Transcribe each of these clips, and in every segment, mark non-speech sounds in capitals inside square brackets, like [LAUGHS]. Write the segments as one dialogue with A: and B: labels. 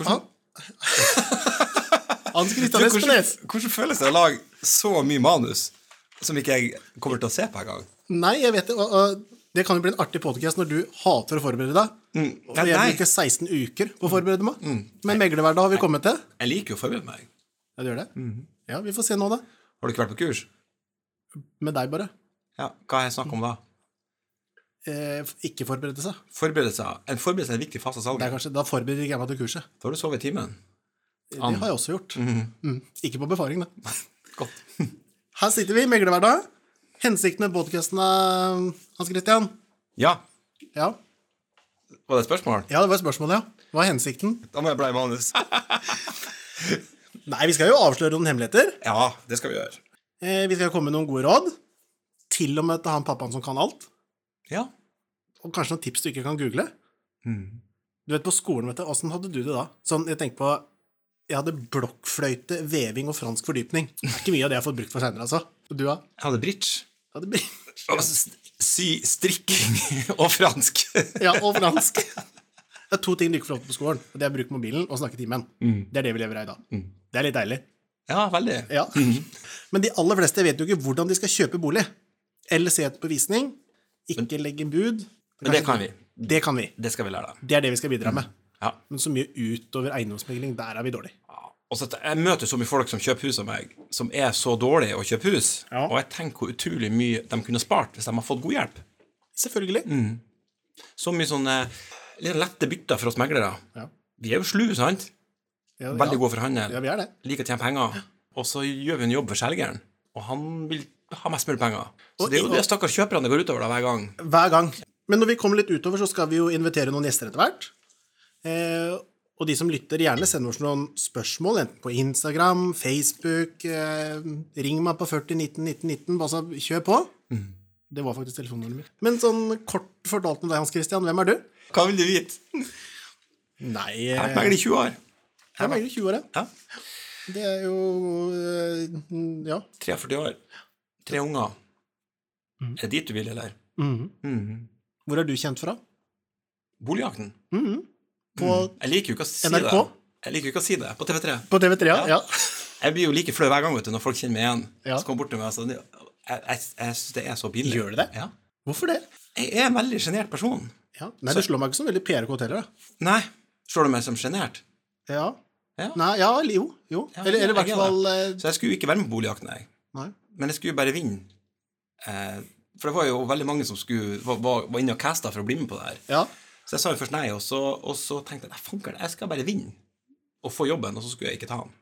A: [LAUGHS]
B: Hvordan,
A: Hans Christian
B: du, hvordan,
A: Espenes.
B: hvordan føles det å lage så mye manus som ikke jeg kommer til å se på engang?
A: Nei, jeg vet det. og, og Det kan jo bli en artig podcast når du hater å forberede deg.
B: Nei,
A: Og jeg
B: Mm. nei. Mm.
A: bruker 16 uker på å forberede meg. Men meglerhverdag har vi kommet til.
B: Jeg liker jo å forberede meg.
A: Ja, du gjør det?
B: Mm.
A: Ja, vi får se nå, da.
B: Har du ikke vært på kurs?
A: Med deg, bare.
B: Ja, Hva har jeg snakket om da?
A: Eh, ikke forberede seg.
B: Forberedelser. En forberedelse er en viktig fase av
A: Det er
B: salget.
A: kanskje, da forbereder ikke jeg meg til kurset.
B: Da har du sovet i timen.
A: Det har jeg også gjort. Mm. Ikke på befaring, da.
B: Godt.
A: Her sitter vi, meglerhverdag. Hensikten med podkasten er Hans Christian?
B: Ja,
A: Ja.
B: var det et spørsmål?
A: ja, det var spørsmålet, ja. Hva er hensikten?
B: Da må jeg bla i manus.
A: Nei, vi skal jo avsløre noen hemmeligheter.
B: [LAUGHS] Ja, det skal vi gjøre.
A: Eh, vi skal komme med noen gode råd. Til og med til han pappaen som kan alt.
B: Ja.
A: Og kanskje noen tips du ikke kan google. Du vet, på skolen, vet du, åssen hadde du det da? Sånn, jeg tenker på Jeg hadde blokkfløyte, veving og fransk fordypning. Det er ikke mye av det jeg har fått brukt for seinere, altså. Og du, da?
B: Jeg hadde bridge.
A: Ja, det blir-
B: Og s- Sy, strikking [LAUGHS] og fransk.
A: [LAUGHS] Ja, og fransk. Det er to ting du ikke får lov til på skolen. og Det er å bruke mobilen og snakke timen. Det er det vi lever av i dag. Det er litt deilig.
B: Ja, veldig.
A: Ja.
B: Mhm.
A: Men de aller fleste vet jo ikke hvordan de skal kjøpe bolig. Eller se etter på visning. Ikke legge bud.
B: Men det kan vi.
A: Det kan vi.
B: Det skal vi lære deg.
A: Det er det vi skal bidra med.
B: Ja.
A: Men så mye utover eiendomsmegling, der er vi dårlige.
B: Og så at jeg møter så mye folk som kjøper hus av meg, som er så dårlige å kjøpe hus.
A: Ja.
B: Og jeg tenker hvor utrolig mye de kunne spart hvis de har fått god hjelp.
A: Selvfølgelig.
B: Mm. Så mye sånne eh, litt lette bytter for oss meglere.
A: Ja.
B: Vi er jo slu, sant?
A: Ja,
B: Veldig
A: ja.
B: gode for handel.
A: Ja, vi er det.
B: Liker å tjene penger. Og så gjør vi en jobb for selgeren, og han vil ha mest mulig penger. Så
A: Og-
B: det er jo det stakkars kjøperne det går utover da hver gang.
A: Hver gang. Men når vi kommer litt utover, så skal vi jo invitere noen gjester etter hvert. Eh, og de som lytter, gjerne send oss noen spørsmål, enten på Instagram, Facebook eh, Ring meg på 40 19 19 19, bare så kjør på. Det var faktisk telefonnummeret mitt. Men sånn kort fortalt om deg, Hans Christian, hvem er du?
B: Hva vil du vite? Jeg
A: Nei
B: har
A: eh,
B: vært megler i 20 år.
A: Jeg er megler i 20 år, ja.
B: Ja.
A: Det er jo eh, Ja.
B: 43 år. Tre unger. Er det dit du vil, eller?
A: Mhm. Hvor er du kjent fra?
B: Boligjakten.
A: På,
B: Jeg liker jo ikke å si
A: NRK?
B: det. Jeg liker jo ikke å si det på TV3.
A: på TV3, ja. ja.
B: Jeg blir jo like flau hver gang vet du, når folk kjenner meg igjen.
A: Ja.
B: Så kommer de bort til meg og sånn, Jeg, jeg, jeg syns det er så pinlig.
A: Gjør du det?
B: Ja.
A: Hvorfor det?
B: Jeg er en veldig sjenert person.
A: Ja. Nei, du slår meg ikke som veldig PRK heller, da.
B: Nei, slår du meg som sjenert?
A: Ja.
B: Ja.
A: Nei, ja, eller jo. jo.
B: Ja,
A: eller eller
B: jeg
A: i hvert
B: er
A: fall eh,
B: Så jeg skulle jo ikke være med på Boligjakten, jeg.
A: Nei.
B: Men jeg skulle jo bare vinne. Eh, for det var jo veldig mange som skulle, var, var, var inne og casta for å bli med på det her.
A: Ja.
B: Så jeg sa jo først nei, og så, og så tenkte jeg nei, fanker, jeg skal bare vinne og få jobben, og så skulle jeg ikke ta den.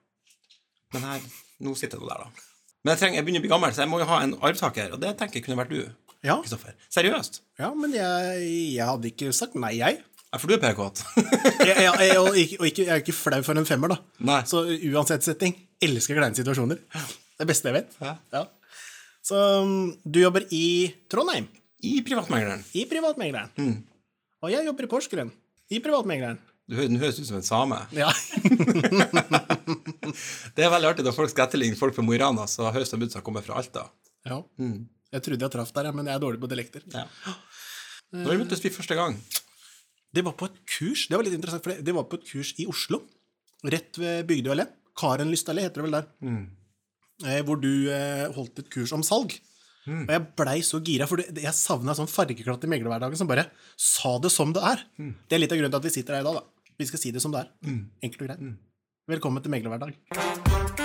B: Men her, nå sitter jeg nå der, da. Men jeg, trenger, jeg begynner å bli gammel, så jeg må jo ha en arvtaker, og det tenker jeg kunne vært du,
A: Ja.
B: Kristoffer. Seriøst.
A: ja, men jeg, jeg hadde ikke sagt nei, jeg.
B: Ja, For du er PK-et.
A: jeg, jeg, jeg og ikke, og ikke, jeg er ikke flau for en femmer, da.
B: Nei.
A: Så uansett setting. Elsker kleine situasjoner. Det beste jeg vet.
B: Ja.
A: Så um, du jobber i Trondheim,
B: [LAUGHS] I Privatmegleren.
A: i Privatmegleren.
B: Mm.
A: Og jeg jobber i Porsgrunn, i Privatmegleren.
B: Du hø- den høres ut som en same.
A: Ja. [LAUGHS]
B: Det er veldig artig når folk skal etterligne folk fra Mo i Rana, så høres de ut som de kommer fra Alta.
A: ja.
B: Mm.
A: Jeg trodde jeg traff der, ja, men jeg er dårlig på dialekter.
B: Ja. Når vi møttes vi første gang?
A: Det var på et kurs, det var litt interessant, for det, det var på et kurs i Oslo. Rett ved Bygdøy allé. Karenlyst allé heter det vel der. Eh, hvor du eh, holdt et kurs om salg. Og jeg blei så gira, for det, det- jeg savna sånn fargeklatt i meglerhverdagen som bare sa det som det er. Det er litt av grunnen til at vi sitter her i dag, da. Vi skal si det som det er. Enkelt og greit. Velkommen til meglerhverdag.